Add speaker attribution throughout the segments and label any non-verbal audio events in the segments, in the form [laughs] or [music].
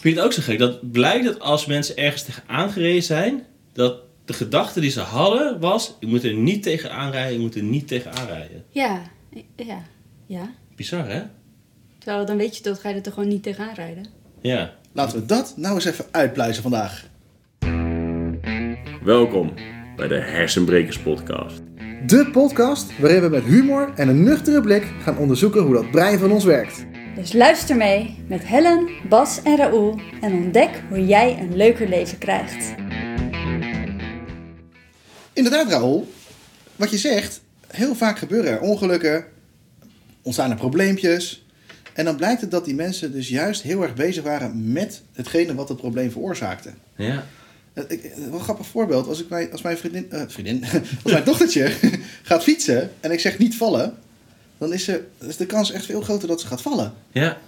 Speaker 1: vind het ook zo gek. Dat blijkt dat als mensen ergens tegen aangereden zijn, dat de gedachte die ze hadden was: ik moet er niet tegen aanrijden, ik moet er niet tegen aanrijden.
Speaker 2: Ja, ja, ja.
Speaker 1: Bizar, hè?
Speaker 2: Terwijl dan weet je dat, ga je er toch gewoon niet tegenaan rijden.
Speaker 1: Ja.
Speaker 3: Laten we dat nou eens even uitpluizen vandaag.
Speaker 4: Welkom bij de Hersenbrekers Podcast.
Speaker 5: De podcast waarin we met humor en een nuchtere blik gaan onderzoeken hoe dat brein van ons werkt.
Speaker 2: Dus luister mee met Helen, Bas en Raoul en ontdek hoe jij een leuker leven krijgt.
Speaker 3: Inderdaad, Raoul, wat je zegt, heel vaak gebeuren er ongelukken, ontstaan er probleempjes. En dan blijkt het dat die mensen dus juist heel erg bezig waren met hetgene wat het probleem veroorzaakte.
Speaker 1: Ja.
Speaker 3: Eh, Ik, eh, wel een grappig voorbeeld. Als, ik mijn, als mijn vriendin, eh, vriendin [laughs] als mijn dochtertje [laughs] gaat fietsen en ik zeg niet vallen, dan is, ze, is de kans echt veel groter dat ze gaat vallen.
Speaker 1: Ja.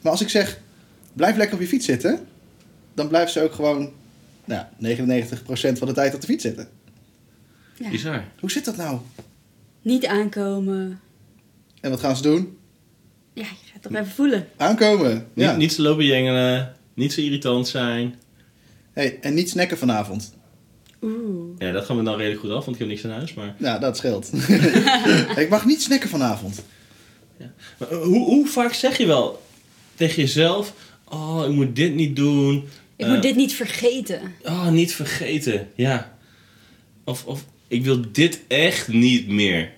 Speaker 3: Maar als ik zeg, blijf lekker op je fiets zitten, dan blijft ze ook gewoon nou, ja, 99% van de tijd op de fiets zitten.
Speaker 2: Ja.
Speaker 1: Bizar.
Speaker 3: Hoe zit dat nou?
Speaker 2: Niet aankomen.
Speaker 3: En wat gaan ze doen?
Speaker 2: Ja, je gaat toch even voelen.
Speaker 3: Aankomen. Ja.
Speaker 1: Niet, niet zo lopen jengelen, niet zo irritant zijn.
Speaker 3: Hey, en niet snacken vanavond.
Speaker 2: Oeh.
Speaker 1: Ja, dat gaan we dan redelijk goed af, want ik heb niks aan huis. Maar,
Speaker 3: Nou,
Speaker 1: [laughs]
Speaker 3: dat scheelt. [laughs] ik mag niet snacken vanavond.
Speaker 1: maar eh, hoe, hoe vaak zeg je wel tegen jezelf: Oh, ik moet dit niet doen.
Speaker 2: Ik
Speaker 1: Eh,
Speaker 2: moet dit niet vergeten.
Speaker 1: Oh, niet vergeten. Ja. Of, of ik wil dit echt niet meer.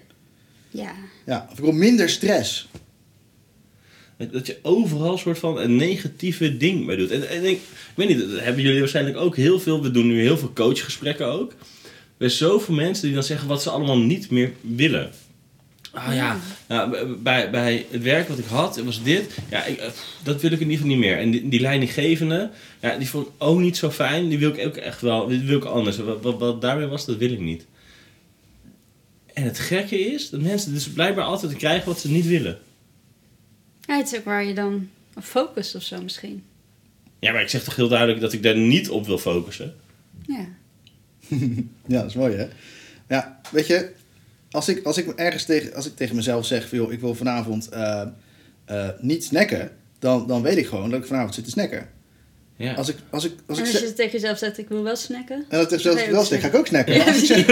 Speaker 2: Ja.
Speaker 3: Ja, of ik wil minder stress.
Speaker 1: Dat dat je overal soort van een negatieve ding bij doet. En, en ik, ik weet niet, dat hebben jullie waarschijnlijk ook heel veel. We doen nu heel veel coachgesprekken ook. Er zijn zoveel mensen die dan zeggen wat ze allemaal niet meer willen. Ah ja, nou, b- bij, bij het werk wat ik had, was dit. Ja, ik, eh, dat wil ik in ieder geval niet meer. En die, die leidinggevende, ja, die vond ik ook niet zo fijn. Die wil ik ook echt wel, die wil ik anders. Wat, wat, wat daarmee was, dat wil ik niet. En het gekke is dat mensen dus blijkbaar altijd krijgen wat ze niet willen.
Speaker 2: ja. Het is ook waar je dan op focust of zo misschien.
Speaker 1: Ja, maar ik zeg toch heel duidelijk dat ik daar niet op wil focussen.
Speaker 2: Ja.
Speaker 3: Ja, dat is mooi hè. Ja, weet je, als ik, als ik, ergens tegen, als ik tegen mezelf zeg, van, joh, ik wil vanavond eh, eh, niet snacken, dan, dan weet ik gewoon dat ik vanavond zit te snacken.
Speaker 1: Ja.
Speaker 3: Als ik, als ik, als ik,
Speaker 2: en als
Speaker 3: zeg-
Speaker 2: je het tegen jezelf zegt, ik wil wel snacken. [laughs]
Speaker 3: en dat ik zelfs
Speaker 2: Nee,
Speaker 3: wel
Speaker 2: dat
Speaker 3: zeg,
Speaker 2: is-
Speaker 3: ga ik ook snacken. Maar als ik zeg,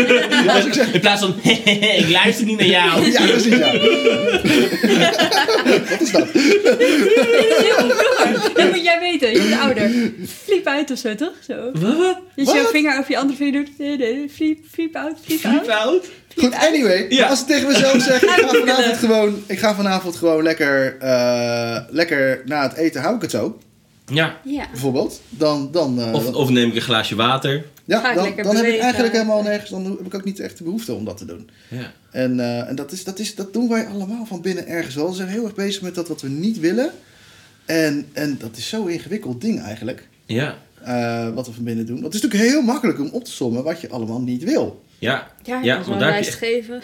Speaker 3: als ik zeg,
Speaker 1: [laughs] In plaats van, ik luister niet naar
Speaker 2: Oh,
Speaker 1: jou.
Speaker 3: [laughs] ja, precies ja. Wat is dat?
Speaker 2: Dat moet jij weten, je bent ouder. Fliep uit of zo, toch? Zo.
Speaker 1: Wat?
Speaker 2: Dus
Speaker 3: Wat?
Speaker 2: je vinger over je andere vinger doet. eh, eh, Fliep, fliep uit, fliep
Speaker 1: Diep
Speaker 2: uit.
Speaker 1: oud?
Speaker 3: Goed, anyway.
Speaker 1: Ja.
Speaker 3: Als ik tegen mezelf zeg, ik ga
Speaker 2: Uitwikkelen.
Speaker 3: vanavond gewoon, ik ga vanavond gewoon lekker, eh, lekker na het eten hou ik het zo,
Speaker 1: Ja.
Speaker 2: Ja.
Speaker 3: bijvoorbeeld. Dan, dan, eh,
Speaker 1: Of, of neem ik een glaasje water.
Speaker 3: ja,
Speaker 2: Ga ik
Speaker 3: dan,
Speaker 2: lekker
Speaker 3: dan heb ik
Speaker 2: bewegen.
Speaker 3: eigenlijk helemaal nergens, dan heb ik ook niet echt de behoefte om dat te doen.
Speaker 1: Ja.
Speaker 3: En, eh, en dat, is, dat, is, dat doen wij allemaal van binnen ergens wel. We zijn heel erg bezig met dat wat we niet willen. En, en dat is zo'n ingewikkeld ding eigenlijk,
Speaker 1: Ja.
Speaker 3: eh, wat we van binnen doen. Want het is natuurlijk heel makkelijk om op te sommen wat je allemaal niet wil.
Speaker 1: Ja.
Speaker 2: Ja,
Speaker 1: Ja,
Speaker 2: ja
Speaker 1: want
Speaker 2: een
Speaker 1: daar heb
Speaker 2: lijst
Speaker 1: je-
Speaker 2: geven.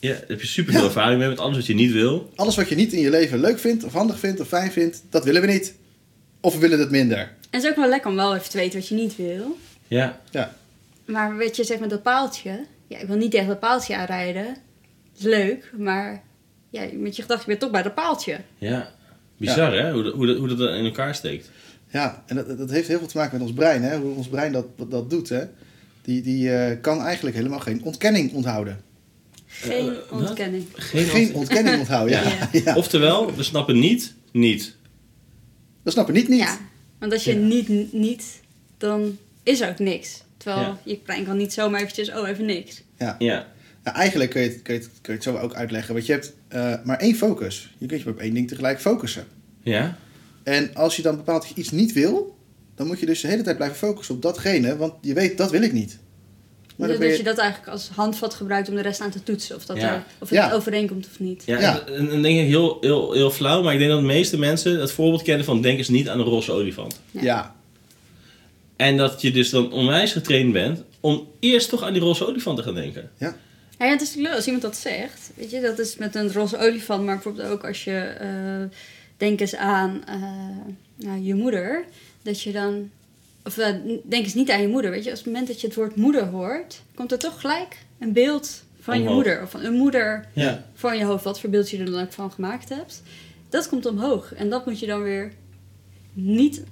Speaker 1: Ja, daar heb je super veel ervaring mee met alles wat je niet wil.
Speaker 3: Alles wat je niet in je leven leuk vindt, of handig vindt, of fijn vindt, dat willen we niet. Of we willen het minder.
Speaker 2: En het is ook wel lekker om wel even te weten wat je niet wil.
Speaker 1: Ja.
Speaker 3: Ja,
Speaker 2: Maar weet je, zeg maar dat paaltje. Ja, ik wil niet tegen dat paaltje aanrijden. Dat is leuk, maar ja, met je gedachten ben je toch bij dat paaltje.
Speaker 1: Ja. Bizar hè, hoe dat, hoe, dat, hoe dat dan in elkaar steekt.
Speaker 3: ja en dat, dat heeft heel veel te maken met ons brein, hè? hoe ons brein dat, dat doet. Hè? Die, die eh, kan eigenlijk helemaal geen ontkenning onthouden.
Speaker 2: Geen
Speaker 1: Eh, wat?
Speaker 2: ontkenning.
Speaker 1: Geen,
Speaker 3: Geen ontkenning
Speaker 1: [laughs]
Speaker 3: onthouden, ja.
Speaker 2: Ja.
Speaker 3: [laughs] ja.
Speaker 1: Oftewel, we snappen niet, niet.
Speaker 3: Dat snap ik niet niet.
Speaker 2: Ja, want als je niet, niet, dan is er ook niks. Terwijl
Speaker 1: Ja.
Speaker 2: je brein kan niet zomaar eventjes, oh, even niks.
Speaker 1: Ja.
Speaker 3: Nou, eigenlijk kun je, het, kun, je het, kun je het zo ook uitleggen. Want je hebt eh, maar één focus. Je kunt je maar op één ding tegelijk focussen.
Speaker 1: Ja.
Speaker 3: En als je dan bepaald iets niet wil, dan moet je dus de hele tijd blijven focussen op datgene. Want je weet, dat wil ik niet.
Speaker 2: dus
Speaker 3: Maar dan ben
Speaker 2: dat
Speaker 3: je-
Speaker 2: je dat eigenlijk als handvat gebruikt om de rest aan te toetsen. Of, dat
Speaker 1: Ja.
Speaker 2: er, of het
Speaker 3: Ja.
Speaker 2: overeenkomt of niet.
Speaker 1: Ja,
Speaker 3: Ja.
Speaker 1: En, en denk ik heel, heel, heel flauw, maar ik denk dat de meeste mensen het voorbeeld kennen van denk eens niet aan een roze olifant.
Speaker 2: Ja.
Speaker 3: Ja,
Speaker 1: En dat je dus dan onwijs getraind bent om eerst toch aan die roze olifant te gaan denken.
Speaker 2: Ja, het is natuurlijk leuk als iemand dat zegt. Weet je, dat is met een roze olifant, maar bijvoorbeeld ook als je. eh denk eens aan eh, nou, je moeder. Dat je dan. Of eh, denk eens niet aan je moeder. Weet je, als het moment dat je het woord moeder hoort, komt er toch gelijk een beeld van je
Speaker 1: Omhoog.
Speaker 2: moeder. Of van een moeder
Speaker 1: Ja.
Speaker 2: voor je hoofd. Wat voor beeld je er dan ook van gemaakt hebt. Dat komt omhoog. En dat moet je dan weer niet
Speaker 1: Ja,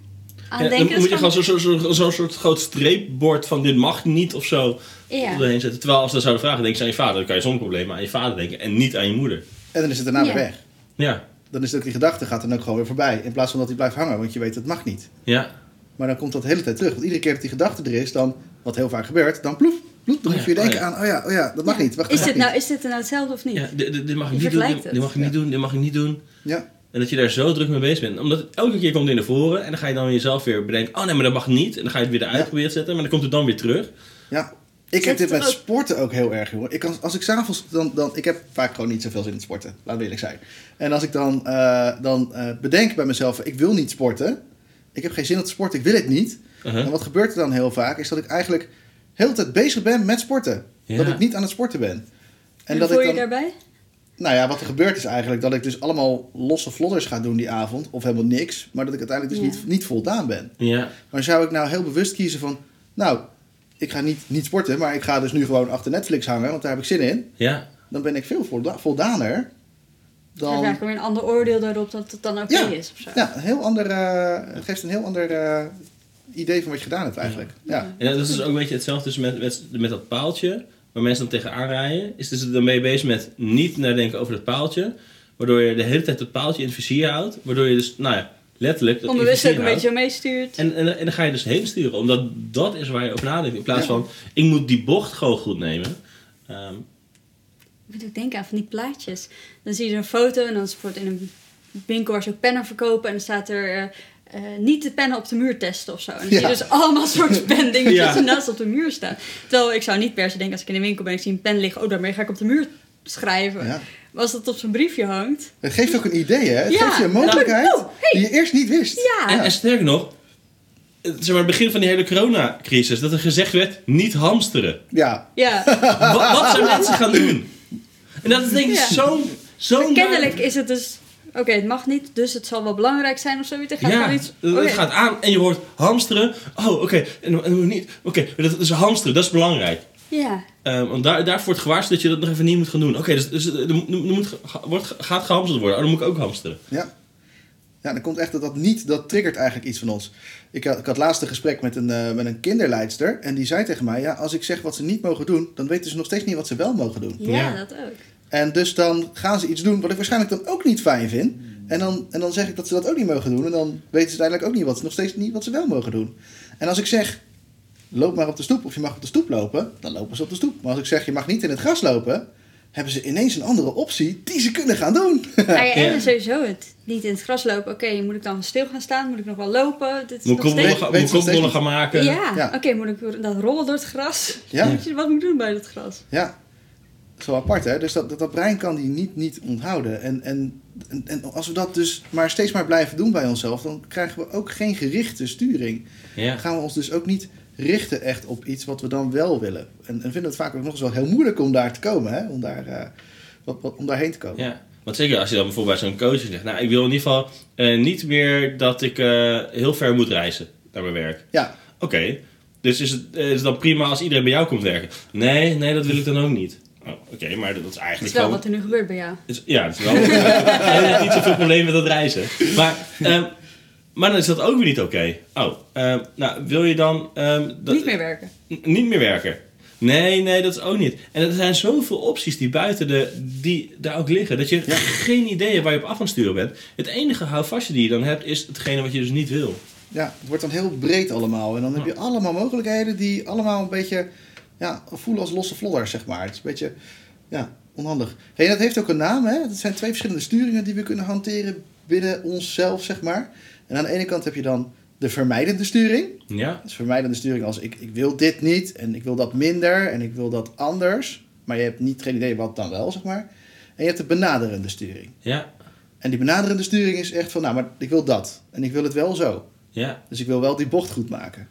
Speaker 2: aan
Speaker 1: dan
Speaker 2: denken.
Speaker 1: moet je
Speaker 2: dat
Speaker 1: gewoon
Speaker 2: is
Speaker 1: zo'n zo, zo, zo zo'n soort groot streepbord van dit mag niet of zo
Speaker 2: Ja.
Speaker 1: doorheen zetten. Terwijl als ze dat zouden vragen, denk ze aan je vader. Dan kan je zonder probleem aan je vader denken en niet aan je moeder.
Speaker 3: En dan is het daarna
Speaker 2: Ja.
Speaker 3: weer weg.
Speaker 1: Ja,
Speaker 3: Dan is dat die gedachte gaat dan ook gewoon weer voorbij. In plaats van dat die blijft hangen, want je weet het mag niet.
Speaker 1: ja.
Speaker 3: Maar dan komt dat de hele tijd terug. Want iedere keer dat die gedachte er is, dan, wat heel vaak gebeurt, dan ploef, ploef, dan
Speaker 1: Oh
Speaker 3: moet je
Speaker 1: ja,
Speaker 3: weer denken
Speaker 1: oh ja.
Speaker 3: aan, oh ja, oh ja, dat mag niet. Wacht,
Speaker 2: Is
Speaker 3: dat
Speaker 2: dit,
Speaker 3: mag
Speaker 2: nou, is dit er nou hetzelfde of niet?
Speaker 1: ja dit, dit- dit mag ik
Speaker 2: Je
Speaker 1: niet doen,
Speaker 2: vergelijkt
Speaker 1: dit, dit
Speaker 2: het.
Speaker 1: mag ik niet
Speaker 3: Ja.
Speaker 1: doen, dit mag ik niet doen.
Speaker 3: niet. Ja.
Speaker 1: En dat je daar zo druk mee bezig bent. Omdat het elke keer komt in naar voren. En dan ga je dan jezelf weer bedenken. Oh nee, maar dat mag niet. En dan ga je het weer eruit
Speaker 3: Ja.
Speaker 1: proberen te zetten. Maar dan komt het dan weer terug.
Speaker 3: Ja, ik heb
Speaker 2: Zit
Speaker 3: dit
Speaker 2: er
Speaker 3: met
Speaker 2: ook-
Speaker 3: sporten ook heel erg, jongen. Ik kan, als ik s'avonds dan, dan... Ik heb vaak gewoon niet zoveel zin in sporten, laat we eerlijk zijn. En als ik dan, eh, dan eh, bedenk bij mezelf, ik wil niet sporten. Ik heb geen zin om te sporten, ik wil het niet.
Speaker 1: Uh-huh.
Speaker 3: En wat gebeurt er dan heel vaak, is dat ik eigenlijk heel de tijd bezig ben met sporten.
Speaker 1: Ja.
Speaker 3: Dat ik niet aan het sporten ben.
Speaker 2: En,
Speaker 3: dat
Speaker 2: voel
Speaker 3: ik
Speaker 2: je daarbij?
Speaker 3: nou ja, wat er gebeurt is eigenlijk dat ik dus allemaal losse vlodders ga doen die avond. Of helemaal niks. Maar dat ik uiteindelijk dus
Speaker 2: Ja.
Speaker 3: niet, niet voldaan ben.
Speaker 1: Ja.
Speaker 3: Maar zou ik nou heel bewust kiezen van... Nou, ik ga niet, niet sporten, maar ik ga dus nu gewoon achter Netflix hangen. Want daar heb ik zin in.
Speaker 1: Ja.
Speaker 3: Dan ben ik veel volda- voldaner.
Speaker 2: Dan heb
Speaker 3: Dan,
Speaker 2: eigenlijk weer een ander oordeel daarop dat het dan oké
Speaker 3: Ja.
Speaker 2: is of zo.
Speaker 3: ja, een heel ander, eh, het geeft een heel ander eh, idee van wat je gedaan hebt eigenlijk. Ja.
Speaker 1: En dat is dus ook een beetje hetzelfde dus met, met, met dat paaltje. Waar mensen dan tegenaan rijden. Is dus dan ben je bezig met niet nadenken over dat paaltje. Waardoor je de hele tijd dat paaltje in het vizier houdt. Waardoor je dus, nou ja, letterlijk dat in het
Speaker 2: Onbewust ook
Speaker 1: vizier houdt.
Speaker 2: een beetje zo meestuurt.
Speaker 1: En, en, en dan ga je dus heen sturen. Omdat dat is waar je over nadenkt. In plaats
Speaker 3: Ja.
Speaker 1: van, ik moet die bocht gewoon goed nemen. Ehm,
Speaker 2: Ik moet ook denken aan van die plaatjes. Dan zie je zo'n foto en dan is het bijvoorbeeld in een winkel waar ze ook pennen verkopen. En dan staat er eh, eh, niet de pennen op de muur testen of zo. En dan zie
Speaker 3: Ja.
Speaker 2: je dus
Speaker 1: [laughs]
Speaker 2: allemaal soort pendingetjes
Speaker 1: Ja.
Speaker 2: die naast op de muur staan. Terwijl ik zou niet per se denken als ik in een winkel ben, ik zie een pen liggen. Oh, daarmee ga ik op de muur schrijven.
Speaker 3: Ja.
Speaker 2: Maar als dat op zo'n briefje hangt.
Speaker 3: Het geeft ook een idee, hè? Het
Speaker 2: Ja.
Speaker 3: geeft je een mogelijkheid
Speaker 2: Nou, oh, hey.
Speaker 3: die je eerst niet wist.
Speaker 2: Ja.
Speaker 1: En, en sterker nog, eh, zeg maar, het begin van die hele coronacrisis, dat er gezegd werd: niet hamsteren.
Speaker 3: Ja,
Speaker 2: Ja,
Speaker 1: [laughs] Wa- wat, zijn mensen gaan doen? En dat is denk ik
Speaker 2: Ja.
Speaker 1: zo'n. zo'n
Speaker 2: kennelijk is het dus... Oké, het mag niet, dus het zal wel belangrijk zijn of zoiets. Dan gaat
Speaker 1: Ja,
Speaker 2: er iets...
Speaker 1: het
Speaker 2: oké.
Speaker 1: gaat aan en je hoort hamsteren. Oh, oké. En, en niet. Oké, dat is hamsteren, dat is belangrijk.
Speaker 2: Ja,
Speaker 1: Eh, want daar, daarvoor wordt gewaarschuwd dat je dat nog even niet moet gaan doen. Oké, dus, dus er, moet- er moet, ge- ga- wordt, ge- gaat gehamsterd worden. Oh, dan moet ik ook hamsteren.
Speaker 3: Ja. Ja, dan komt echt dat dat niet, dat triggert eigenlijk iets van ons. Ik had, ik had laatst een gesprek met een, eh, met een kinderleidster. En die zei tegen mij, ja, als ik zeg wat ze niet mogen doen, dan weten ze nog steeds niet wat ze wel mogen doen.
Speaker 2: ja,
Speaker 1: Ja.
Speaker 2: dat ook.
Speaker 3: En dus dan gaan ze iets doen wat ik waarschijnlijk dan ook niet fijn vind. En dan, en dan zeg ik dat ze dat ook niet mogen doen. En dan weten ze uiteindelijk ook niet wat, nog steeds niet wat ze wel mogen doen. En als ik zeg, loop maar op de stoep of je mag op de stoep lopen, dan lopen ze op de stoep. Maar als ik zeg, je mag niet in het gras lopen, hebben ze ineens een andere optie die ze kunnen gaan doen.
Speaker 2: Nou ja, en
Speaker 1: Ja.
Speaker 2: sowieso het niet in het gras lopen. Oké, moet ik dan stil gaan staan? Moet ik nog wel lopen? Dit is
Speaker 1: Moet ik
Speaker 2: nog
Speaker 1: koprollen
Speaker 2: steeds...
Speaker 3: steeds-
Speaker 1: gaan- moet
Speaker 3: weet
Speaker 1: ik
Speaker 3: ze nog steeds
Speaker 1: koprollen
Speaker 3: niet.
Speaker 1: gaan maken?
Speaker 2: Ja,
Speaker 3: Ja.
Speaker 2: oké, moet ik dan rollen door het gras?
Speaker 3: Ja.
Speaker 2: Weet je, wat moet ik doen bij dat gras?
Speaker 3: Ja, zo apart hè. Dus dat, dat, dat brein kan die niet, niet onthouden. En, en, en, en als we dat dus maar steeds maar blijven doen bij onszelf, dan krijgen we ook geen gerichte sturing.
Speaker 1: Ja.
Speaker 3: Dan gaan we ons dus ook niet richten echt op iets wat we dan wel willen. En, en vinden het vaak ook nog eens wel heel moeilijk om daar te komen, hè? Om, daar, eh, wat, wat, om daarheen te komen.
Speaker 1: Ja, want zeker als je dan bijvoorbeeld bij zo'n coach zegt... Nou, ik wil in ieder geval eh, niet meer dat ik eh, heel ver moet reizen naar mijn werk.
Speaker 3: Ja,
Speaker 1: Oké, dus is het, eh, is het dan prima als iedereen bij jou komt werken? Nee, nee, dat wil ik dan ook niet. Oh, Oké, maar dat is
Speaker 2: Dat is
Speaker 1: eigenlijk
Speaker 2: wel
Speaker 1: gewoon...
Speaker 2: wat er nu gebeurt bij jou.
Speaker 1: is- ja, het is wel... [laughs] Hij heeft niet zoveel probleem met dat reizen. Maar, ehm, maar dan is dat ook weer niet oké. Oh, ehm, nou, wil je dan... ehm, dat-
Speaker 2: Niet meer werken.
Speaker 1: N- niet meer werken. Nee, nee, dat is ook niet. En er zijn zoveel opties die buiten de, die daar ook liggen, dat je geen idee hebt waar je op af aan het sturen bent. Het enige houvastje die je dan hebt, is hetgene wat je dus niet wil.
Speaker 3: ja, het wordt dan heel breed allemaal. En dan heb je allemaal mogelijkheden die allemaal een beetje ja, voelen als losse vlodders, zeg maar. Het is een beetje ja, onhandig. Hey, dat heeft ook een naam, hè? Het zijn twee verschillende sturingen die we kunnen hanteren binnen onszelf, zeg maar. En aan de ene kant heb je dan de vermijdende sturing.
Speaker 1: Ja?
Speaker 3: Dus vermijdende sturing als ik, ik wil dit niet en ik wil dat minder en ik wil dat anders. Maar je hebt niet geen idee wat dan wel, zeg maar. En je hebt de benaderende sturing.
Speaker 1: Ja?
Speaker 3: En die benaderende sturing is echt van, nou, maar ik wil dat. En ik wil het wel zo.
Speaker 1: Ja?
Speaker 3: Dus ik wil wel die bocht goed maken.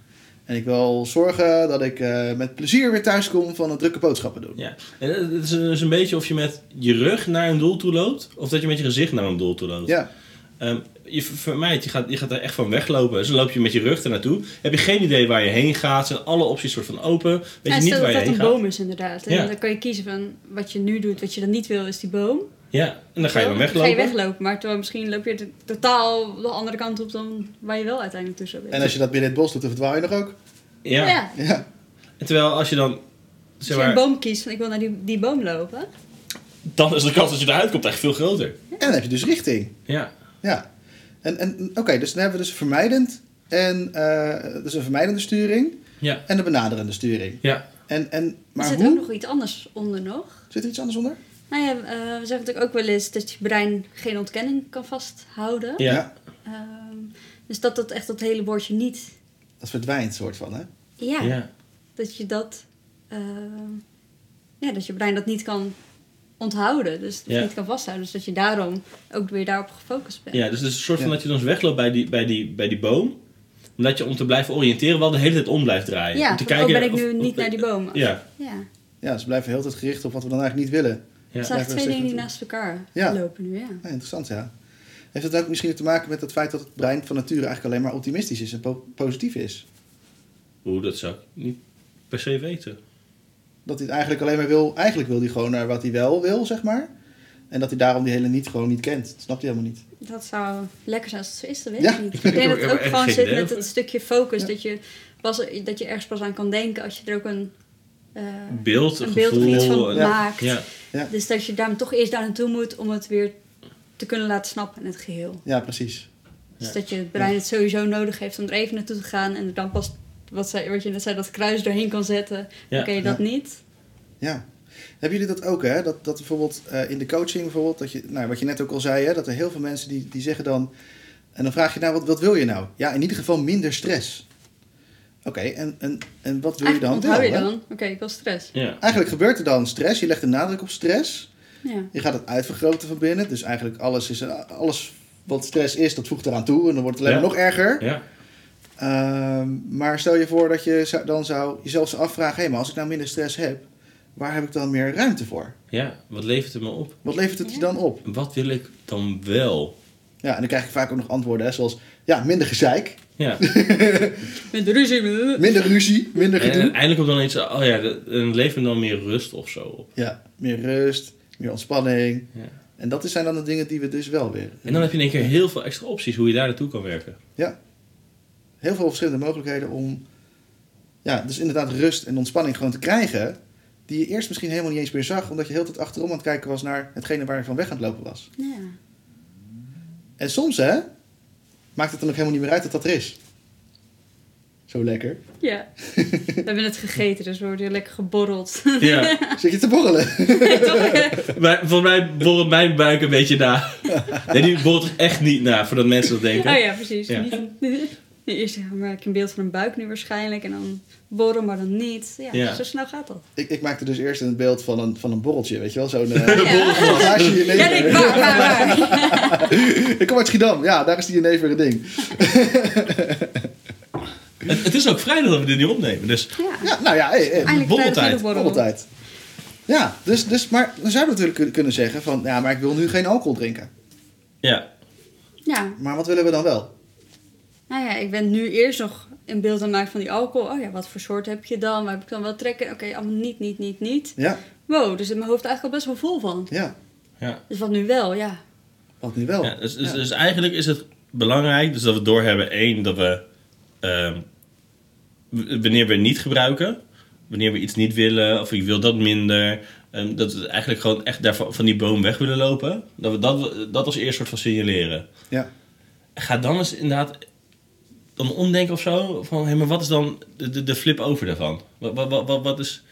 Speaker 3: En ik wil zorgen dat ik eh, met plezier weer thuis kom van het drukke boodschappen doen.
Speaker 1: Ja. En eh, het is een, het is een beetje of je met je rug naar een doel toe loopt, of dat je met je gezicht naar een doel toe loopt.
Speaker 3: Ja,
Speaker 1: Ehm, je ver- vermijdt, je gaat, je gaat er echt van weglopen. Dus dan loop je met je rug er naartoe. Heb je geen idee waar je heen gaat, zijn alle opties soort van open. Weet
Speaker 2: en
Speaker 1: je niet
Speaker 2: stel
Speaker 1: waar
Speaker 2: dat
Speaker 1: je
Speaker 2: dat
Speaker 1: heen
Speaker 2: een
Speaker 1: gaat.
Speaker 2: boom is inderdaad.
Speaker 1: Ja.
Speaker 2: En dan kan je kiezen van wat je nu doet, wat je dan niet wil, is die boom.
Speaker 1: Ja, en dan ga je dan weglopen.
Speaker 2: Ga je weglopen, maar terwijl misschien loop je de- totaal de andere kant op dan waar je wel uiteindelijk tussen bent.
Speaker 3: En als je dat binnen het bos doet, dan verdwaal je nog ook.
Speaker 1: Ja.
Speaker 2: ja.
Speaker 3: Ja.
Speaker 1: En terwijl als je dan...
Speaker 2: Als
Speaker 1: Zeg
Speaker 2: je een
Speaker 1: maar,
Speaker 2: boom kiest van ik wil naar die, die boom lopen.
Speaker 1: dan is de kans dat je eruit komt echt veel groter.
Speaker 3: En dan heb je dus richting.
Speaker 1: Ja.
Speaker 3: Ja. En, en oké, dus dan hebben we dus vermijdend. En eh, dus een vermijdende sturing
Speaker 1: Ja.
Speaker 3: en een benaderende sturing.
Speaker 1: Ja.
Speaker 3: En, en, maar
Speaker 2: er zit
Speaker 3: hoe?
Speaker 2: ook nog iets anders onder nog.
Speaker 3: Zit er iets anders onder?
Speaker 2: Nou ja, eh, we zeggen natuurlijk ook wel eens dat je brein geen ontkenning kan vasthouden.
Speaker 1: Ja.
Speaker 2: Ehm, dus dat dat echt dat hele woordje niet...
Speaker 3: Dat verdwijnt soort van, hè?
Speaker 2: Ja,
Speaker 1: Ja.
Speaker 2: dat je dat... ehm, ja, dat je brein dat niet kan onthouden. Dus
Speaker 1: Ja.
Speaker 2: niet kan vasthouden. Dus dat je daarom ook weer daarop gefocust bent.
Speaker 1: Ja, dus het is een soort van
Speaker 3: Ja.
Speaker 1: dat je dan eens wegloopt bij die, bij, die, bij die boom. Omdat je om te blijven oriënteren wel de hele tijd om blijft draaien.
Speaker 2: Ja,
Speaker 1: om te
Speaker 2: van, oh, ben ik
Speaker 1: of-
Speaker 2: nu
Speaker 1: of-
Speaker 2: niet naar die boom?
Speaker 1: Ja.
Speaker 2: Ja.
Speaker 3: Ja, ze blijven heel tijd gericht op wat we dan eigenlijk niet willen.
Speaker 2: Het
Speaker 1: Ja.
Speaker 2: zijn
Speaker 3: Ja,
Speaker 2: echt twee
Speaker 3: dat is
Speaker 2: dingen die
Speaker 3: echt-
Speaker 2: naast elkaar
Speaker 3: Ja.
Speaker 2: lopen nu, ja.
Speaker 3: Ja, Ah, interessant, ja. Heeft dat ook misschien te maken met het feit dat het brein van nature eigenlijk alleen maar optimistisch is en po- positief is?
Speaker 1: Oeh, dat zou ik niet per se weten.
Speaker 3: Dat hij het eigenlijk alleen maar wil, eigenlijk wil hij gewoon naar wat hij wel wil, zeg maar. En dat hij daarom die hele niet gewoon niet kent. Dat snapt hij helemaal niet.
Speaker 2: Dat zou lekker zijn als het zo is, dat weet
Speaker 3: Ja.
Speaker 2: ik niet. Ik denk dat
Speaker 1: Ik
Speaker 2: het
Speaker 1: heb
Speaker 2: ook
Speaker 1: echt
Speaker 2: gewoon
Speaker 1: geen
Speaker 2: zit
Speaker 1: idee
Speaker 2: met
Speaker 1: over.
Speaker 2: het stukje focus.
Speaker 3: Ja.
Speaker 2: Dat, je pas, dat je ergens pas aan kan denken als je er ook een, eh,
Speaker 1: Beeld,
Speaker 2: een beeld of
Speaker 1: gevoel.
Speaker 2: iets van
Speaker 1: en-
Speaker 2: maakt.
Speaker 1: Ja.
Speaker 2: Dus dat je daar toch eerst daar naartoe moet om het weer te kunnen laten snappen in het geheel.
Speaker 3: Ja, precies.
Speaker 2: Dus
Speaker 1: Ja.
Speaker 2: dat je het brein het sowieso nodig heeft om er even naartoe te gaan. En er dan pas, wat, zei, wat je net zei, dat kruis doorheen kan zetten.
Speaker 1: Ja.
Speaker 2: Oké, dat
Speaker 3: Ja.
Speaker 2: niet.
Speaker 3: Ja. Hebben jullie dat ook, hè? Dat, dat bijvoorbeeld eh, in de coaching, bijvoorbeeld, dat je, nou, wat je net ook al zei, hè? Dat er heel veel mensen die, die zeggen dan... En dan vraag je, nou, wat, wat wil je nou? Ja, in ieder geval minder stress. Oké, en, en, en wat wil je dan
Speaker 2: Eigenlijk onthoud je
Speaker 3: wel, hè?
Speaker 2: dan? Oké, ik wil stress.
Speaker 1: Ja.
Speaker 3: Eigenlijk gebeurt er dan stress. Je legt de nadruk op stress.
Speaker 2: Ja.
Speaker 3: Je gaat het uitvergroten van binnen. Dus eigenlijk alles, is, alles wat stress is, dat voegt eraan toe. En dan wordt het alleen
Speaker 1: Ja.
Speaker 3: maar nog erger.
Speaker 1: Ja.
Speaker 3: Ehm, maar stel je voor dat je zou- dan zou jezelf zou afvragen... hé, maar als ik nou minder stress heb, waar heb ik dan meer ruimte voor?
Speaker 1: ja. Wat levert het me op?
Speaker 3: Wat levert het je dan op?
Speaker 1: Wat wil ik dan wel?
Speaker 3: Ja, en dan krijg ik vaak ook nog antwoorden, hè, zoals... ja, minder gezeik,
Speaker 1: Ja.
Speaker 2: Met ruzie.
Speaker 3: minder ruzie, minder
Speaker 1: En
Speaker 3: gedoe.
Speaker 1: uiteindelijk komt dan iets, oh ja, dat- en levert me dan meer rust of zo op.
Speaker 3: Ja, meer rust, meer ontspanning.
Speaker 1: Ja.
Speaker 3: En dat zijn dan de dingen die we dus wel weer...
Speaker 1: En dan heb je in één keer heel veel extra opties hoe je daar naartoe kan werken.
Speaker 3: Heel veel verschillende mogelijkheden om... ja, dus inderdaad rust en ontspanning gewoon te krijgen... die je eerst misschien helemaal niet eens meer zag... omdat je heel de tijd achterom aan het kijken was naar hetgene waar je van weg aan het lopen was.
Speaker 2: Ja.
Speaker 3: En soms, hè, maakt het dan ook helemaal niet meer uit dat dat er is. Zo lekker.
Speaker 2: [laughs] Ja, we hebben net gegeten, dus we worden hier lekker geborreld.
Speaker 1: Ja.
Speaker 3: Zit je te borrelen? [laughs]
Speaker 1: Mij- Volgens mij borrelt mijn buik een beetje na. Nee, die borrelt echt niet na, voordat mensen dat denken.
Speaker 2: [laughs] Oh ja, precies.
Speaker 1: Ja.
Speaker 2: Niet- Eerst maak ik een beeld van een buik nu waarschijnlijk en dan borrel, maar dan niet. Ja,
Speaker 1: Ja.
Speaker 2: zo snel gaat dat.
Speaker 3: Ik, ik maakte dus eerst een beeld van een, van een borreltje, weet je wel? Zo'n
Speaker 2: Ja,
Speaker 3: eh glaasje jenever.
Speaker 2: ja nee, waar, waar, waar.
Speaker 3: [laughs] Ik kom uit Schiedam. Ja, daar is die jenever een ding.
Speaker 1: Het, het is ook vrijdag dat we dit nu opnemen, dus
Speaker 2: Ja,
Speaker 3: Ja, nou ja, hey, hey,
Speaker 2: eindelijk
Speaker 1: borreltijd,
Speaker 2: vrijdagmiddag borrelen.
Speaker 3: borreltijd. Ja, dus, dus, maar dan zou je natuurlijk kun- kunnen zeggen van... ja, maar ik wil nu geen alcohol drinken.
Speaker 1: ja.
Speaker 2: Ja,
Speaker 3: Maar wat willen we dan wel?
Speaker 2: nou ja, ik ben nu eerst nog een beeld aan het maken van die alcohol. Oh ja, wat voor soort heb je dan? Waar heb ik dan wel trekken? Oké, allemaal niet, niet, niet, niet.
Speaker 3: Ja,
Speaker 2: Wow, dus zit mijn hoofd eigenlijk al best wel vol van.
Speaker 3: ja,
Speaker 1: ja.
Speaker 2: Dus wat nu wel, ja.
Speaker 3: wat nu wel?
Speaker 1: ja dus, dus,
Speaker 3: Oh, Ja.
Speaker 1: dus eigenlijk is het belangrijk dus dat we doorhebben, één, dat we ehm, w- wanneer we niet gebruiken, wanneer we iets niet willen, of ik wil dat minder, ehm, dat we eigenlijk gewoon echt daarvan, van die boom weg willen lopen, dat we dat, dat als eerst soort van signaleren.
Speaker 3: Ja.
Speaker 1: ga dan eens inderdaad dan omdenken of zo. Van, hé, maar wat is dan de, de, de flip over daarvan? Wat, wat, wat- wat, wat is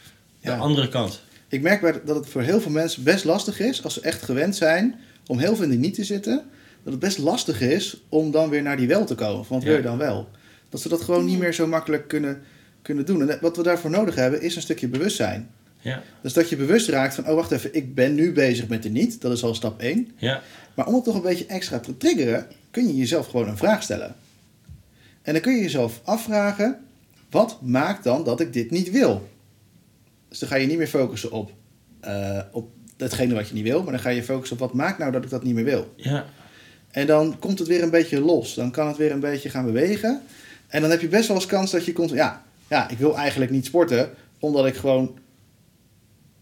Speaker 1: de
Speaker 3: Ja.
Speaker 1: andere kant?
Speaker 3: Ik merk bij- dat het voor heel veel mensen best lastig is, als ze echt gewend zijn om heel veel in die niet te zitten, dat het best lastig is om dan weer naar die wel te komen. Van wat wil je
Speaker 1: Ja.
Speaker 3: dan wel? Dat ze dat gewoon niet meer zo makkelijk kunnen, kunnen doen. En wat we daarvoor nodig hebben, is een stukje bewustzijn.
Speaker 1: Ja,
Speaker 3: Dus dat je bewust raakt van, oh wacht even, ik ben nu bezig met de niet. Dat is al stap 1.
Speaker 1: ja,
Speaker 3: Maar om het toch een beetje extra te triggeren, kun je jezelf gewoon een vraag stellen. En dan kun je jezelf afvragen, wat maakt dan dat ik dit niet wil? Dus dan ga je niet meer focussen op, eh, op hetgene wat je niet wil, maar dan ga je focussen op wat maakt nou dat ik dat niet meer wil.
Speaker 1: ja,
Speaker 3: En dan komt het weer een beetje los, dan kan het weer een beetje gaan bewegen. En dan heb je best wel eens kans dat je komt, ja, ja ik wil eigenlijk niet sporten, omdat ik gewoon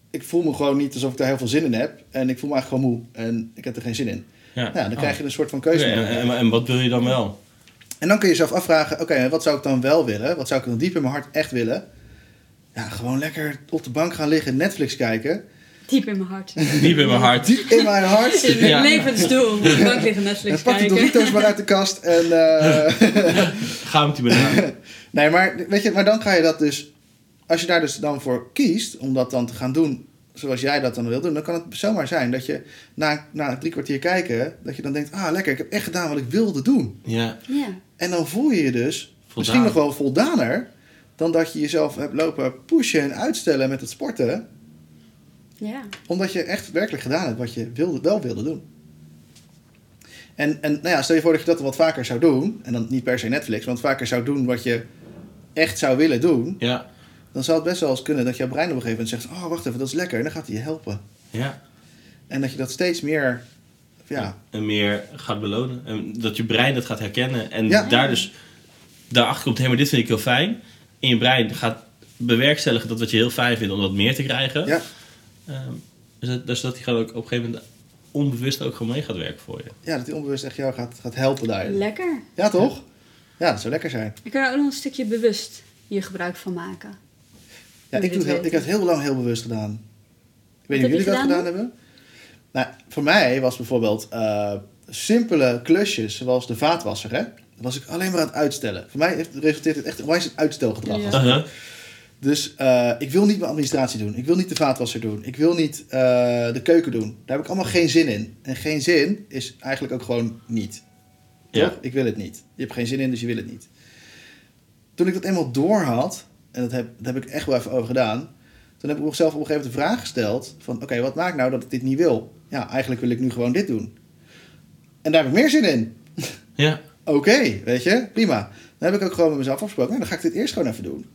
Speaker 3: ik voel me gewoon niet alsof ik daar heel veel zin in heb. En ik voel me eigenlijk gewoon moe. En ik heb er geen zin in.
Speaker 1: Ja.
Speaker 3: Nou, dan
Speaker 1: Oh.
Speaker 3: krijg je een soort van keuze.
Speaker 1: Oké, en, en, en wat wil je dan wel?
Speaker 3: En dan kun je jezelf afvragen, oké, wat zou ik dan wel willen? Wat zou ik dan diep in mijn hart echt willen? Ja, gewoon lekker op de bank gaan liggen, Netflix kijken.
Speaker 2: Diep in mijn hart. [laughs]
Speaker 1: Diep in mijn hart.
Speaker 3: Diep in mijn hart.
Speaker 2: Zit mijn
Speaker 1: Ja.
Speaker 2: levensdoel. Op de bank liggen
Speaker 3: En
Speaker 2: Netflix
Speaker 3: pak die
Speaker 2: kijken.
Speaker 3: Doritos maar uit de kast. En, eh, [laughs]
Speaker 1: Ga met die banaan.
Speaker 3: nee, maar, weet je, maar dan ga je dat dus... Als je daar dus dan voor kiest, om dat dan te gaan doen zoals jij dat dan wil doen... dan kan het zomaar zijn dat je na, na drie kwartier kijken... dat je dan denkt, ah lekker, ik heb echt gedaan wat ik wilde doen.
Speaker 1: Ja.
Speaker 2: Ja.
Speaker 3: En dan voel je je dus misschien nog
Speaker 1: Voldaan.
Speaker 3: wel voldaner... dan dat je jezelf hebt lopen pushen en uitstellen met het sporten...
Speaker 2: Ja.
Speaker 3: Omdat je echt werkelijk gedaan hebt wat je wilde, wel wilde doen. En, en nou ja, stel je voor dat je dat wat vaker zou doen. En dan niet per se Netflix, maar wat vaker zou doen wat je echt zou willen doen.
Speaker 1: Ja.
Speaker 3: Dan zou het best wel eens kunnen dat jouw brein op een gegeven moment zegt... Oh, wacht even, dat is lekker. En dan gaat hij je helpen.
Speaker 1: Ja.
Speaker 3: En dat je dat steeds meer... Ja,
Speaker 1: En meer gaat belonen. En dat je brein dat gaat herkennen. En
Speaker 3: Ja.
Speaker 1: daar dus daarachter komt, hé, maar dit vind ik heel fijn. En je brein gaat bewerkstelligen dat wat je heel fijn vindt om dat meer te krijgen.
Speaker 3: ja,
Speaker 1: Ehm, dus, dat, dus dat die gewoon ook op een gegeven moment onbewust ook gewoon mee gaat werken voor je.
Speaker 3: ja dat hij onbewust echt jou gaat, gaat helpen daarin.
Speaker 2: Lekker.
Speaker 3: Ja, toch? Ja, dat zou lekker zijn.
Speaker 2: Ik kan er ook nog een stukje bewust hier gebruik van maken.
Speaker 3: Ja,
Speaker 2: Dit
Speaker 3: ik, doe het heel, ik
Speaker 2: weten.
Speaker 3: heb het heel lang heel bewust gedaan. Ik weet niet
Speaker 2: heb je
Speaker 3: of jullie dat
Speaker 2: gedaan
Speaker 3: gedaan
Speaker 2: dan?
Speaker 3: hebben. Nou, voor mij was bijvoorbeeld eh, simpele klusjes, zoals de vaatwasser, hè. Dat was ik alleen maar aan het uitstellen. Voor mij heeft- resulteert het echt onwijs het uitstelgedrag.
Speaker 2: Ja.
Speaker 1: Uh-huh.
Speaker 3: Dus eh, ik wil niet mijn administratie doen. Ik wil niet de vaatwasser doen. Ik wil niet eh, de keuken doen. Daar heb ik allemaal geen zin in. En geen zin is eigenlijk ook gewoon niet.
Speaker 1: Ja.
Speaker 3: Toch? Ik wil het niet. Je hebt geen zin in, dus je wil het niet. Toen ik dat eenmaal door had, en dat heb, daar heb ik echt wel even over gedaan. Toen heb ik mezelf op een gegeven moment de vraag gesteld: van oké, wat maakt nou dat ik dit niet wil? Ja, eigenlijk wil ik nu gewoon dit doen. En daar heb ik meer zin in.
Speaker 1: Ja.
Speaker 3: Oké, weet je, prima. Dan heb ik ook gewoon met mezelf afgesproken. Nou, dan ga ik dit eerst gewoon even doen.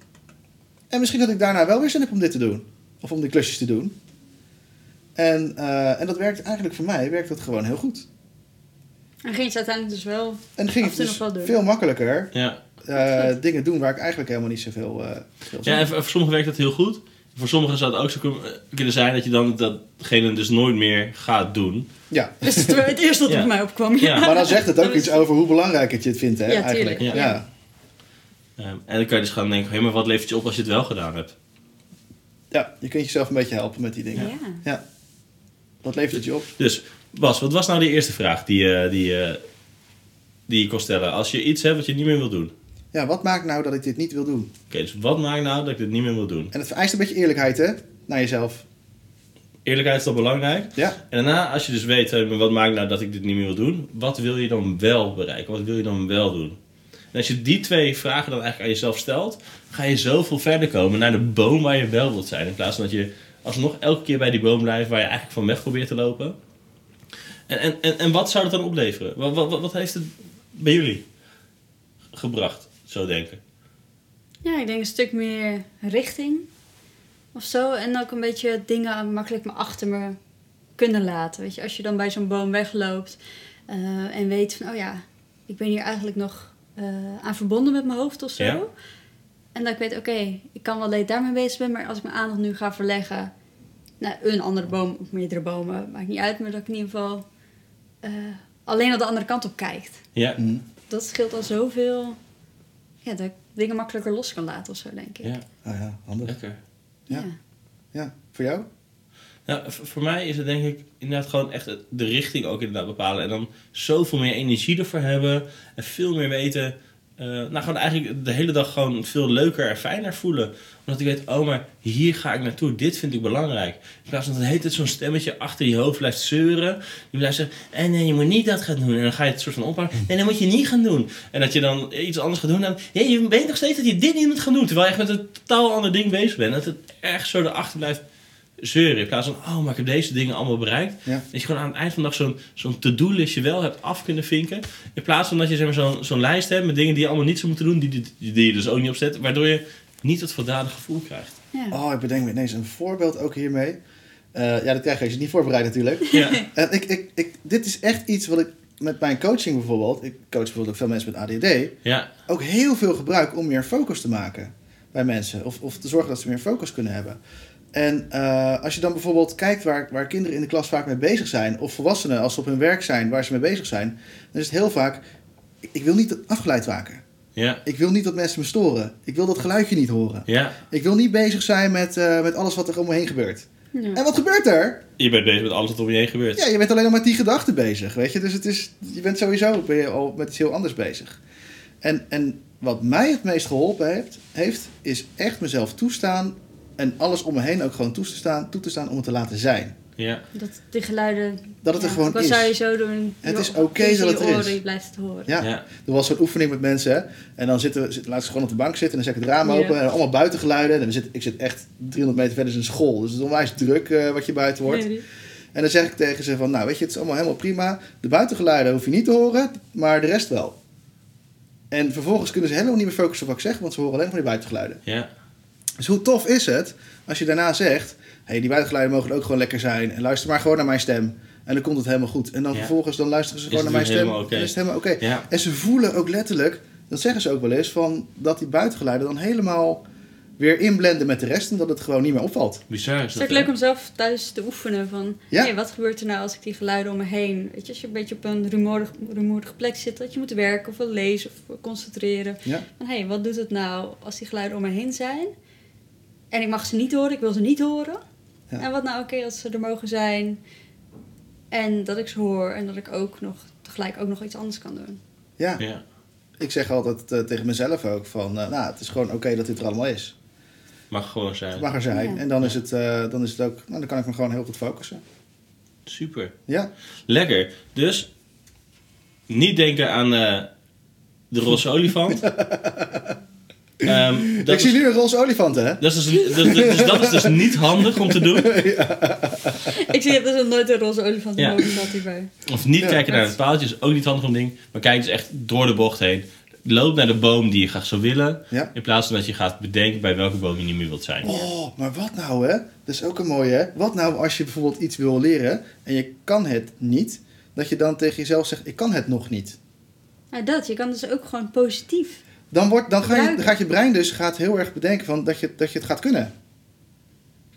Speaker 3: En misschien dat ik daarna wel weer zin heb om dit te doen. Of om die klusjes te doen. En, eh, en dat werkt eigenlijk voor mij, werkt dat gewoon heel goed.
Speaker 2: En ging het uiteindelijk dus wel.
Speaker 3: En ging
Speaker 2: Af
Speaker 3: het
Speaker 2: en
Speaker 3: dus
Speaker 2: nog wel doen.
Speaker 3: veel makkelijker
Speaker 1: Ja.
Speaker 3: eh, dingen doen waar ik eigenlijk helemaal niet zoveel eh veel zin
Speaker 1: ja
Speaker 3: in
Speaker 1: en voor, voor sommigen werkt dat heel goed. Voor sommigen zou het ook zo kun- kunnen zijn dat je dan datgene dus nooit meer gaat doen.
Speaker 2: [laughs]
Speaker 3: Ja,
Speaker 2: Dus het, het eerste dat
Speaker 1: Ja.
Speaker 2: op mij opkwam.
Speaker 1: Ja.
Speaker 3: maar dan zegt het
Speaker 2: [laughs]
Speaker 3: ook iets over hoe belangrijk het je het vindt, hè?
Speaker 2: Ja, tuurlijk,
Speaker 1: ja.
Speaker 3: eigenlijk. Ja.
Speaker 1: Ehm, en dan kan je dus gaan denken, hé, maar wat levert je op als je het wel gedaan hebt?
Speaker 3: Ja, je kunt jezelf een beetje helpen met die dingen.
Speaker 2: Ja.
Speaker 3: Ja. Wat levert het je op?
Speaker 1: Dus Bas, wat was nou die eerste vraag die, eh, die, eh, die je kon stellen? Als je iets hebt wat je niet meer wil doen. Oké,
Speaker 3: Ja, wat maakt nou dat ik dit niet wil doen?
Speaker 1: dus wat maakt nou dat ik dit niet meer wil doen?
Speaker 3: En het vereist een beetje eerlijkheid, hè? Naar jezelf.
Speaker 1: Eerlijkheid is dan belangrijk.
Speaker 3: Ja.
Speaker 1: En daarna, als je dus weet, hé, maar wat maakt nou dat ik dit niet meer wil doen? Wat wil je dan wel bereiken? Wat wil je dan wel doen? En als je die twee vragen dan eigenlijk aan jezelf stelt, ga je zoveel verder komen naar de boom waar je wel wilt zijn. In plaats van dat je alsnog elke keer bij die boom blijft waar je eigenlijk van weg probeert te lopen. En, en, en, en wat zou dat dan opleveren? Wat, wat, wat- wat heeft het bij jullie gebracht, zo denken?
Speaker 2: Ja, ik denk een stuk meer richting of zo. En ook een beetje dingen makkelijk maar achter me kunnen laten. Weet je, als je dan bij zo'n boom wegloopt eh, en weet van, oh ja, ik ben hier eigenlijk nog eh, aan verbonden met mijn hoofd of zo.
Speaker 1: Ja.
Speaker 2: En dat ik weet, oké, ik kan wel leed daarmee bezig zijn, maar als ik mijn aandacht nu ga verleggen naar een andere boom of meerdere bomen, maakt niet uit, maar dat ik in ieder geval eh, alleen aan de andere kant op kijkt.
Speaker 1: Ja,
Speaker 2: Dat scheelt al zoveel. Ja, dat ik dingen makkelijker los kan laten of zo, denk ik.
Speaker 1: ja
Speaker 3: Ah ja, handig.
Speaker 1: lekker.
Speaker 3: Ja. Ja, voor jou?
Speaker 1: Nou, v- voor mij is het denk ik inderdaad gewoon echt het- de richting ook inderdaad bepalen. En dan zoveel meer energie ervoor hebben. En veel meer weten. eh, nou, gewoon eigenlijk de hele dag gewoon veel leuker en fijner voelen. Omdat ik weet, oh, maar hier ga ik naartoe. Dit vind ik belangrijk. In plaats van dat heet het zo'n stemmetje achter je hoofd blijft zeuren. Die blijft zeggen, eh, nee, je moet niet dat gaan doen. En dan ga je het soort van oppakken. Nee, dat moet je niet gaan doen. En dat je dan iets anders gaat doen. Dan, ja, je weet nog steeds dat je dit niet moet gaan doen. Terwijl je echt met een totaal ander ding bezig bent. Dat het echt zo erachter blijft zeuren. In plaats van, oh, maar ik heb deze dingen allemaal bereikt.
Speaker 3: Ja.
Speaker 1: Dat je gewoon aan het eind van de dag zo'n zo'n to-do-listje wel hebt af kunnen vinken. In plaats van dat je zeg maar, zo'n zo'n lijst hebt met dingen die je allemaal niet zou moeten doen. Die, die, die je dus ook niet opzet. Waardoor je niet het voldane gevoel krijgt.
Speaker 2: Ja.
Speaker 3: Oh, ik bedenk me ineens een voorbeeld ook hiermee. Eh, ja, dat krijg je als je het niet voorbereidt natuurlijk.
Speaker 1: [laughs] Ja,
Speaker 3: En ik, ik, ik, dit is echt iets wat ik met mijn coaching bijvoorbeeld... Ik coach bijvoorbeeld ook veel mensen met ADD...
Speaker 1: ja,
Speaker 3: ook heel veel gebruik om meer focus te maken bij mensen. Of, of te zorgen dat ze meer focus kunnen hebben. En eh, als je dan bijvoorbeeld kijkt waar, waar kinderen in de klas vaak mee bezig zijn, of volwassenen als ze op hun werk zijn, waar ze mee bezig zijn, dan is het heel vaak: ik- ik wil niet afgeleid raken.
Speaker 1: Ja.
Speaker 3: Ik wil niet dat mensen me storen. Ik wil dat geluidje niet horen.
Speaker 1: Ja.
Speaker 3: Ik wil niet bezig zijn met, eh, met alles wat er om me heen gebeurt.
Speaker 2: Ja.
Speaker 3: En wat gebeurt er?
Speaker 1: Je bent bezig met alles wat om je heen gebeurt.
Speaker 3: Ja, je bent alleen nog met die gedachten bezig, weet je. Dus het is, je bent sowieso ben je al met iets heel anders bezig. En, en wat mij het meest geholpen heeft, heeft, is echt mezelf toestaan... en alles om me heen ook gewoon toe te staan, toe te staan om het te laten zijn.
Speaker 1: Ja.
Speaker 2: Dat die geluiden...
Speaker 3: Dat het er gewoon
Speaker 2: wat
Speaker 3: is.
Speaker 2: zou je zo doen?
Speaker 3: Het
Speaker 2: Je-
Speaker 3: is oké
Speaker 2: je
Speaker 3: dat het er
Speaker 2: je
Speaker 3: is.
Speaker 2: oren, Je blijft het horen.
Speaker 3: Ja.
Speaker 1: Ja.
Speaker 3: Er was zo'n oefening met mensen. hè. En dan zitten, we- zitten- laten ze gewoon op de bank zitten. En dan zet ik het raam
Speaker 2: Ja.
Speaker 3: open. En allemaal buitengeluiden. En dan zit, ik zit echt 300 meter verder is een school. Dus het is onwijs druk eh, wat je buiten hoort.
Speaker 2: Nee,
Speaker 3: En dan zeg ik tegen ze van... Nou, weet je, het is allemaal helemaal prima. De buitengeluiden hoef je niet te horen. Maar de rest wel. En vervolgens kunnen ze helemaal niet meer focussen op wat ik zeg. Want ze horen alleen nog maar die buitengeluiden.
Speaker 1: Ja.
Speaker 3: Dus hoe tof is het als je daarna zegt... Hé, hey, die buitengeluiden mogen ook gewoon lekker zijn. En luister maar gewoon naar mijn stem. En dan komt het helemaal goed. En dan
Speaker 1: Ja.
Speaker 3: vervolgens dan luisteren ze
Speaker 1: Is het
Speaker 3: gewoon naar mijn
Speaker 1: weer
Speaker 3: stem.
Speaker 1: helemaal oké.
Speaker 3: En is het helemaal oké.
Speaker 1: Ja.
Speaker 3: En ze voelen ook letterlijk, dat zeggen ze ook wel eens, van dat die buitengeluiden dan helemaal weer inblenden met de rest en dat het gewoon niet meer opvalt.
Speaker 1: Bizar is
Speaker 2: Het is
Speaker 1: dat.
Speaker 2: ook leuk
Speaker 1: hè?
Speaker 2: om zelf thuis te oefenen van...
Speaker 3: Ja.
Speaker 2: hey, wat gebeurt er nou als ik die geluiden om me heen... Weet je, als je een beetje op een rumoerig, rumoerige plek zit... dat je moet werken of wil lezen of concentreren.
Speaker 3: Ja.
Speaker 2: Van, hé, hey, wat doet het nou als die geluiden om me heen zijn? En ik mag ze niet horen, ik wil ze niet horen.
Speaker 3: Ja.
Speaker 2: En wat nou oké als ze er mogen zijn... en dat ik ze hoor en dat ik ook nog tegelijk ook nog iets anders kan
Speaker 3: [laughs]
Speaker 2: doen.
Speaker 3: Ja,
Speaker 1: Ja.
Speaker 3: ik zeg altijd eh, tegen mezelf ook van, eh, nou, het is gewoon oké dat dit er allemaal is.
Speaker 1: Mag gewoon zijn.
Speaker 3: Het mag er zijn.
Speaker 2: Ja.
Speaker 3: En dan is, het, eh, dan is het ook, nou, dan kan ik me gewoon heel goed focussen.
Speaker 1: Super.
Speaker 3: Ja,
Speaker 1: Lekker. Dus niet denken aan eh, de roze
Speaker 3: [laughs]
Speaker 1: olifant. Ehm, dat
Speaker 3: ik zie
Speaker 1: is-
Speaker 3: nu een roze olifant, hè?
Speaker 1: dat is dus- dat- dat- dus dat is dus niet handig om te doen.
Speaker 2: ik zie dat er nooit een roze olifant in
Speaker 1: Ja.
Speaker 2: ja. zat hierbij.
Speaker 1: Of niet
Speaker 3: Ja.
Speaker 1: kijken naar het paaltje is ook niet handig om ding. Maar kijk dus echt door de bocht heen. Loop naar de boom die je graag zou willen.
Speaker 3: Ja.
Speaker 1: In plaats van dat je gaat bedenken bij welke boom je niet meer wilt zijn.
Speaker 3: Oh, maar wat nou, hè? Dat is ook een mooie, hè? Wat nou als je bijvoorbeeld iets wil leren en je kan het niet, dat je dan tegen jezelf zegt, ik kan het nog niet.
Speaker 2: Nou, dat, je kan dus ook gewoon positief.
Speaker 3: Dan, wordt, dan, ga je, dan
Speaker 2: Gebruiken.
Speaker 3: gaat je brein dus gaat heel erg bedenken van dat, je, dat je het gaat kunnen.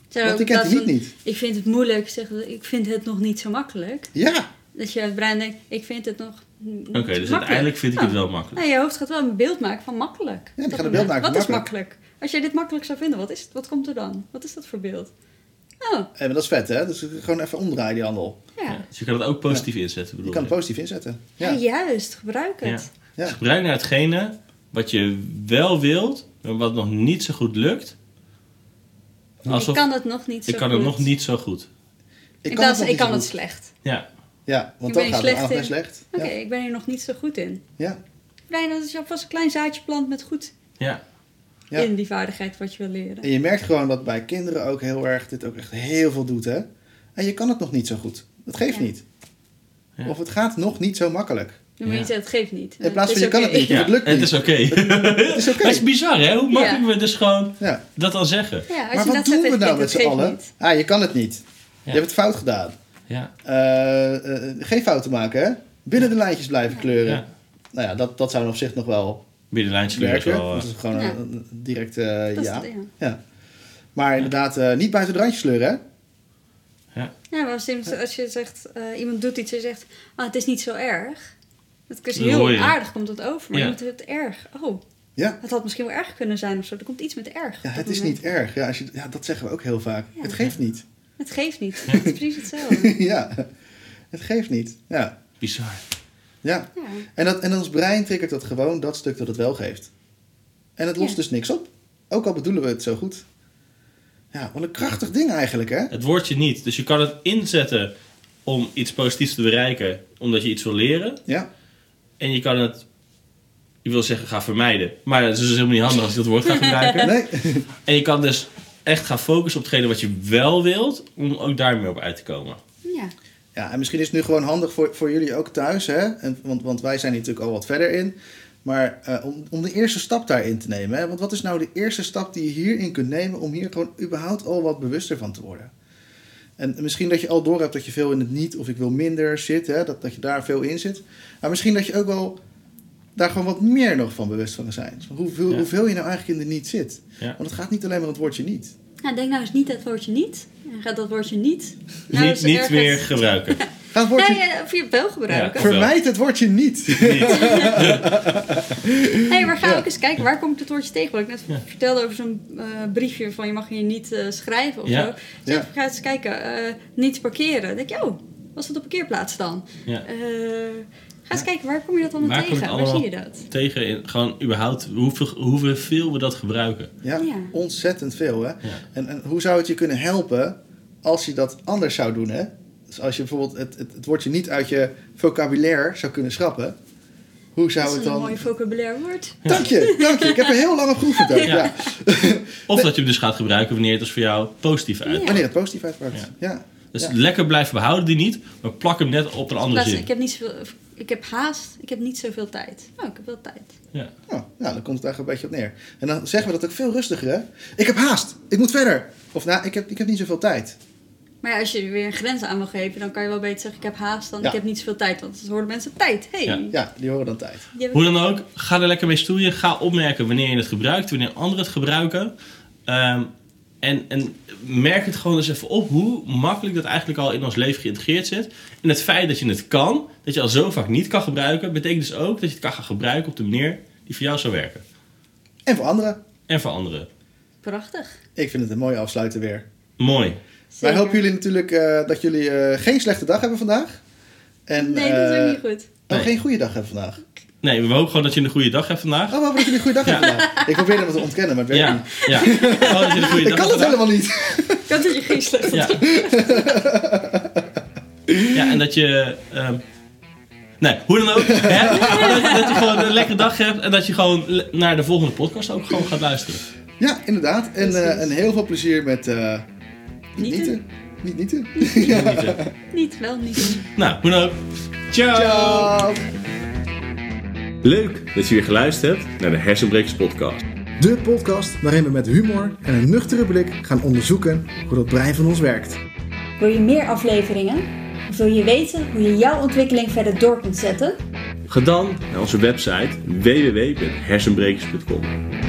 Speaker 2: Zo,
Speaker 3: Want die kent
Speaker 2: dat
Speaker 3: die niet
Speaker 2: van,
Speaker 3: niet.
Speaker 2: Ik vind het moeilijk, zeg, ik vind het nog niet zo makkelijk.
Speaker 3: Ja,
Speaker 2: Dat je het brein denkt, ik vind het nog niet
Speaker 1: Oké, dus
Speaker 2: makkelijk.
Speaker 1: uiteindelijk vind ik het
Speaker 2: Oh.
Speaker 1: wel makkelijk.
Speaker 2: Nou, je hoofd gaat wel een beeld maken van makkelijk.
Speaker 3: die
Speaker 2: Op
Speaker 3: gaat
Speaker 2: dat
Speaker 3: een beeld
Speaker 2: moment.
Speaker 3: maken
Speaker 2: Wat
Speaker 3: van
Speaker 2: is makkelijk? Als jij dit makkelijk zou vinden, wat, is, het- wat komt er dan? Wat is dat voor beeld? Oh,
Speaker 3: en dat is vet hè. Dus gewoon even omdraaien die handel.
Speaker 2: ja.
Speaker 1: Ja, Dus je kan het ook positief inzetten. Bedoel
Speaker 3: Je kan
Speaker 1: ik.
Speaker 3: het positief inzetten.
Speaker 2: Ja,
Speaker 3: Ja.
Speaker 2: juist, gebruik
Speaker 1: Ja.
Speaker 2: het.
Speaker 3: Ja.
Speaker 1: Dus gebruik naar hetgene wat je wel wilt, maar wat nog niet zo goed lukt.
Speaker 2: ik
Speaker 1: Alsof
Speaker 2: kan het nog niet zo
Speaker 1: ik kan
Speaker 2: goed.
Speaker 1: het nog niet zo goed.
Speaker 2: Ik kan,
Speaker 3: nog
Speaker 2: ik
Speaker 3: niet
Speaker 2: kan
Speaker 3: zo
Speaker 2: het
Speaker 3: goed.
Speaker 2: slecht.
Speaker 1: Ja,
Speaker 3: Ja, want
Speaker 2: Ik
Speaker 3: dan
Speaker 2: ben
Speaker 3: gaat
Speaker 2: slecht
Speaker 3: het aan en
Speaker 2: in.
Speaker 3: slecht.
Speaker 2: Oké,
Speaker 3: Ja.
Speaker 2: ik ben hier nog niet zo goed in.
Speaker 3: Ja.
Speaker 2: Brein, dat is alvast een klein zaadje plant met goed
Speaker 1: ja.
Speaker 3: Ja.
Speaker 2: in die vaardigheid wat je wil leren.
Speaker 3: En je merkt gewoon dat bij kinderen ook heel erg dit ook echt heel veel doet hè. En je kan het nog niet zo goed. Dat geeft
Speaker 2: Ja.
Speaker 3: niet.
Speaker 1: Ja.
Speaker 3: Of het gaat nog in niet zo makkelijk.
Speaker 2: Dan moet
Speaker 1: Ja.
Speaker 2: je zeggen, het geeft niet.
Speaker 3: In plaats
Speaker 2: Het
Speaker 3: van
Speaker 2: is
Speaker 3: je kan het
Speaker 2: oké.
Speaker 3: niet.
Speaker 1: ja.
Speaker 3: het lukt
Speaker 1: en het is oké. [laughs]
Speaker 3: Het is oké.
Speaker 1: Dat is bizar, hè? Hoe makkelijk we dus gewoon
Speaker 3: Ja.
Speaker 1: dat dan zeggen.
Speaker 2: [laughs] Ja, als
Speaker 3: Maar
Speaker 2: je
Speaker 3: wat
Speaker 2: dat zegt
Speaker 3: doen we
Speaker 2: tegen
Speaker 3: nou
Speaker 2: kind,
Speaker 3: met
Speaker 2: dat
Speaker 3: z'n
Speaker 2: geeft
Speaker 3: allen?
Speaker 2: niet.
Speaker 3: Ah, je kan het niet. Je hebt het fout gedaan.
Speaker 1: Ja,
Speaker 3: Eh, eh, geen fouten maken hè. Binnen de lijntjes blijven kleuren.
Speaker 1: Ja.
Speaker 3: Nou ja, dat, dat zou op zich nog wel
Speaker 1: binnenlijntje werkt
Speaker 3: werken.
Speaker 1: wel. eh,
Speaker 3: Dat is gewoon
Speaker 2: Ja.
Speaker 3: een, een direct eh,
Speaker 2: Dat is
Speaker 3: ja.
Speaker 2: het, ja.
Speaker 3: ja. Maar inderdaad, eh, niet buiten de randjes sleuren, hè?
Speaker 2: Ja, maar als, iemand- als je zegt, eh, iemand doet iets en je zegt, ah, het is niet zo erg. Dat is
Speaker 1: Dat hoor
Speaker 2: heel
Speaker 1: je.
Speaker 2: aardig, komt dat over. Maar
Speaker 1: Ja.
Speaker 2: je moet het erg. Oh,
Speaker 3: Ja.
Speaker 2: het had misschien wel erg kunnen zijn of zo. Er komt iets met erg.
Speaker 3: Ja,
Speaker 2: op
Speaker 3: het
Speaker 2: dat
Speaker 3: is
Speaker 2: moment.
Speaker 3: niet erg. Ja, als je, ja, dat zeggen we ook heel vaak.
Speaker 2: Ja.
Speaker 3: Het geeft niet. [laughs]
Speaker 2: Het geeft niet. Het is precies hetzelfde.
Speaker 3: ja, het geeft niet. Ja,
Speaker 1: Bizar.
Speaker 3: ja.
Speaker 2: Ja.
Speaker 3: En, dat, en ons brein triggert dat gewoon, dat stuk dat het wel geeft. En het lost
Speaker 2: Ja.
Speaker 3: dus niks op. Ook al bedoelen we het zo goed. Ja, wat een krachtig ding eigenlijk, hè?
Speaker 1: Het woordje niet. Dus je kan het inzetten om iets positiefs te bereiken, omdat je iets wil leren.
Speaker 3: Ja,
Speaker 1: En je kan het, je wil zeggen, ga vermijden. Maar het is dus helemaal niet handig als je dat woord gaat
Speaker 2: [laughs]
Speaker 1: gebruiken.
Speaker 3: nee. [laughs]
Speaker 1: En je kan dus echt gaan focussen op hetgene wat je wel wilt, om ook daarmee op uit te komen.
Speaker 2: ja.
Speaker 3: Ja, en misschien is het nu gewoon handig voor, voor jullie ook thuis, hè? En, want, want wij zijn hier natuurlijk al wat verder in. Maar eh, om, om de eerste stap daarin te nemen, hè? Want wat is nou de eerste stap die je hierin kunt nemen om hier gewoon überhaupt al wat bewuster van te worden? En misschien dat je al door hebt dat je veel in het niet of ik wil minder zit, hè? Dat, dat je daar veel in zit. Maar misschien dat je ook wel daar gewoon wat meer nog van bewust van zijn. Hoeveel,
Speaker 1: Ja.
Speaker 3: hoeveel je nou eigenlijk in de niet zit.
Speaker 1: Ja.
Speaker 3: Want het gaat niet alleen maar om het woordje niet.
Speaker 2: Nou, denk nou eens niet dat woordje niet. En gaat dat woordje niet. Nou,
Speaker 1: niet
Speaker 2: eens
Speaker 1: niet
Speaker 2: ergens-
Speaker 1: meer gebruiken.
Speaker 3: Ga het woordje...
Speaker 2: Nee, eh, of je het wel gebruiken.
Speaker 1: Ja.
Speaker 3: Vermijd het woordje niet.
Speaker 2: hey, maar ga ook eens kijken, waar kom ik het woordje tegen? Wat ik net vertelde over zo'n eh, briefje van je mag hier niet eh, schrijven of
Speaker 1: Ja.
Speaker 2: zo. Dus
Speaker 3: Ja.
Speaker 2: even ga eens kijken, eh, niet parkeren. Dan denk je, oh, was dat op parkeerplaats dan?
Speaker 1: Ja.
Speaker 2: Eh, ga eens kijken, waar kom je dat allemaal
Speaker 1: Waar kom
Speaker 2: tegen?
Speaker 1: ik
Speaker 2: Waar
Speaker 1: allemaal-
Speaker 2: zie je dat?
Speaker 1: Tegen in, gewoon überhaupt hoeveel, hoeveel we dat gebruiken.
Speaker 3: Ja,
Speaker 2: Ja.
Speaker 3: ontzettend veel. Hè? En, en hoe zou het je kunnen helpen als je dat anders zou doen? Hè? Dus als je bijvoorbeeld het, het, het woordje niet uit je vocabulaire zou kunnen schrappen. Hoe zou
Speaker 2: dat
Speaker 3: het
Speaker 2: is een
Speaker 3: dan...
Speaker 2: mooi vocabulair woord.
Speaker 3: Dank je, dank je. Ik heb er heel lang op
Speaker 2: [laughs]
Speaker 3: geoefend. ook, Ja.
Speaker 1: Ja. Of dat je hem dus gaat gebruiken wanneer het dus voor jou positief uit.
Speaker 3: [laughs] Wanneer het positief uitpakt. Ja.
Speaker 1: Dus
Speaker 3: Ja.
Speaker 1: lekker blijven behouden die niet, maar plak hem net op een andere
Speaker 2: Plaats,
Speaker 1: zin.
Speaker 2: ik heb niet zoveel, of, ik heb haast, ik heb niet zoveel tijd. Oh, ik heb wel tijd.
Speaker 1: Ja.
Speaker 3: Nou, nou, dan komt het eigenlijk een beetje op neer. En dan zeggen we dat ook veel rustiger. Hè? Ik heb haast. Ik moet verder. Of nou, ik heb, ik heb niet zoveel tijd.
Speaker 2: Maar ja, als je weer een grens aan wil geven, dan kan je wel beter zeggen, ik heb haast dan
Speaker 3: Ja.
Speaker 2: ik heb niet zoveel tijd. Want dan horen mensen tijd. Hey,
Speaker 1: Ja.
Speaker 3: Ja, die horen dan tijd.
Speaker 2: die hebben-
Speaker 1: Hoe dan ook, ga er lekker mee stoeien. Ga opmerken wanneer je het gebruikt, wanneer anderen het gebruiken. Ehm, en, en merk het gewoon eens even op hoe makkelijk dat eigenlijk al in ons leven geïntegreerd zit. En het feit dat je het kan, dat je al zo vaak niet kan gebruiken, betekent dus ook dat je het kan gaan gebruiken op de manier die voor jou zou werken.
Speaker 3: En voor anderen.
Speaker 1: En voor anderen.
Speaker 2: Prachtig.
Speaker 3: Ik vind het een mooie afsluiter weer.
Speaker 1: Mooi.
Speaker 3: Wij
Speaker 2: Zeker.
Speaker 3: hopen jullie natuurlijk eh, dat jullie eh, geen slechte dag hebben vandaag. En,
Speaker 2: Nee, dat is
Speaker 3: eh,
Speaker 2: ook niet goed.
Speaker 3: Oh,
Speaker 1: Nee.
Speaker 3: geen goede dag hebben vandaag.
Speaker 1: Nee, we hopen gewoon dat je een goede dag hebt vandaag.
Speaker 3: Oh, we hopen dat jullie een goede dag hebben vandaag. Ik probeer dat te ontkennen, maar het werkt
Speaker 1: Ja,
Speaker 3: niet. [laughs]
Speaker 1: ja. Gewoon dat je een goede dag
Speaker 3: Ik kan
Speaker 1: hebt vandaag.
Speaker 3: dat helemaal niet.
Speaker 2: Ik had dat je geen slecht
Speaker 1: Ja. ja, en dat je. ehm, nee, hoe dan ook. Hè? Dat, dat je gewoon een lekkere dag hebt en dat je gewoon le- naar de volgende podcast ook gewoon gaat luisteren.
Speaker 3: Ja, inderdaad. En, eh,
Speaker 2: Precies.
Speaker 3: en heel veel plezier met eh, niet
Speaker 2: Nieten.
Speaker 3: nieten. Niet nieten.
Speaker 1: Genieten.
Speaker 2: Niet, wel niet.
Speaker 1: Nou, hoe dan ook. Ciao.
Speaker 3: [laughs] Ciao.
Speaker 4: Leuk dat je weer geluisterd hebt naar de Hersenbrekers Podcast.
Speaker 5: De podcast waarin we met humor en een nuchtere blik gaan onderzoeken hoe dat brein van ons werkt.
Speaker 2: Wil je meer afleveringen? Of wil je weten hoe je jouw ontwikkeling verder door kunt zetten?
Speaker 4: Ga dan naar onze website www.hersenbrekers.com.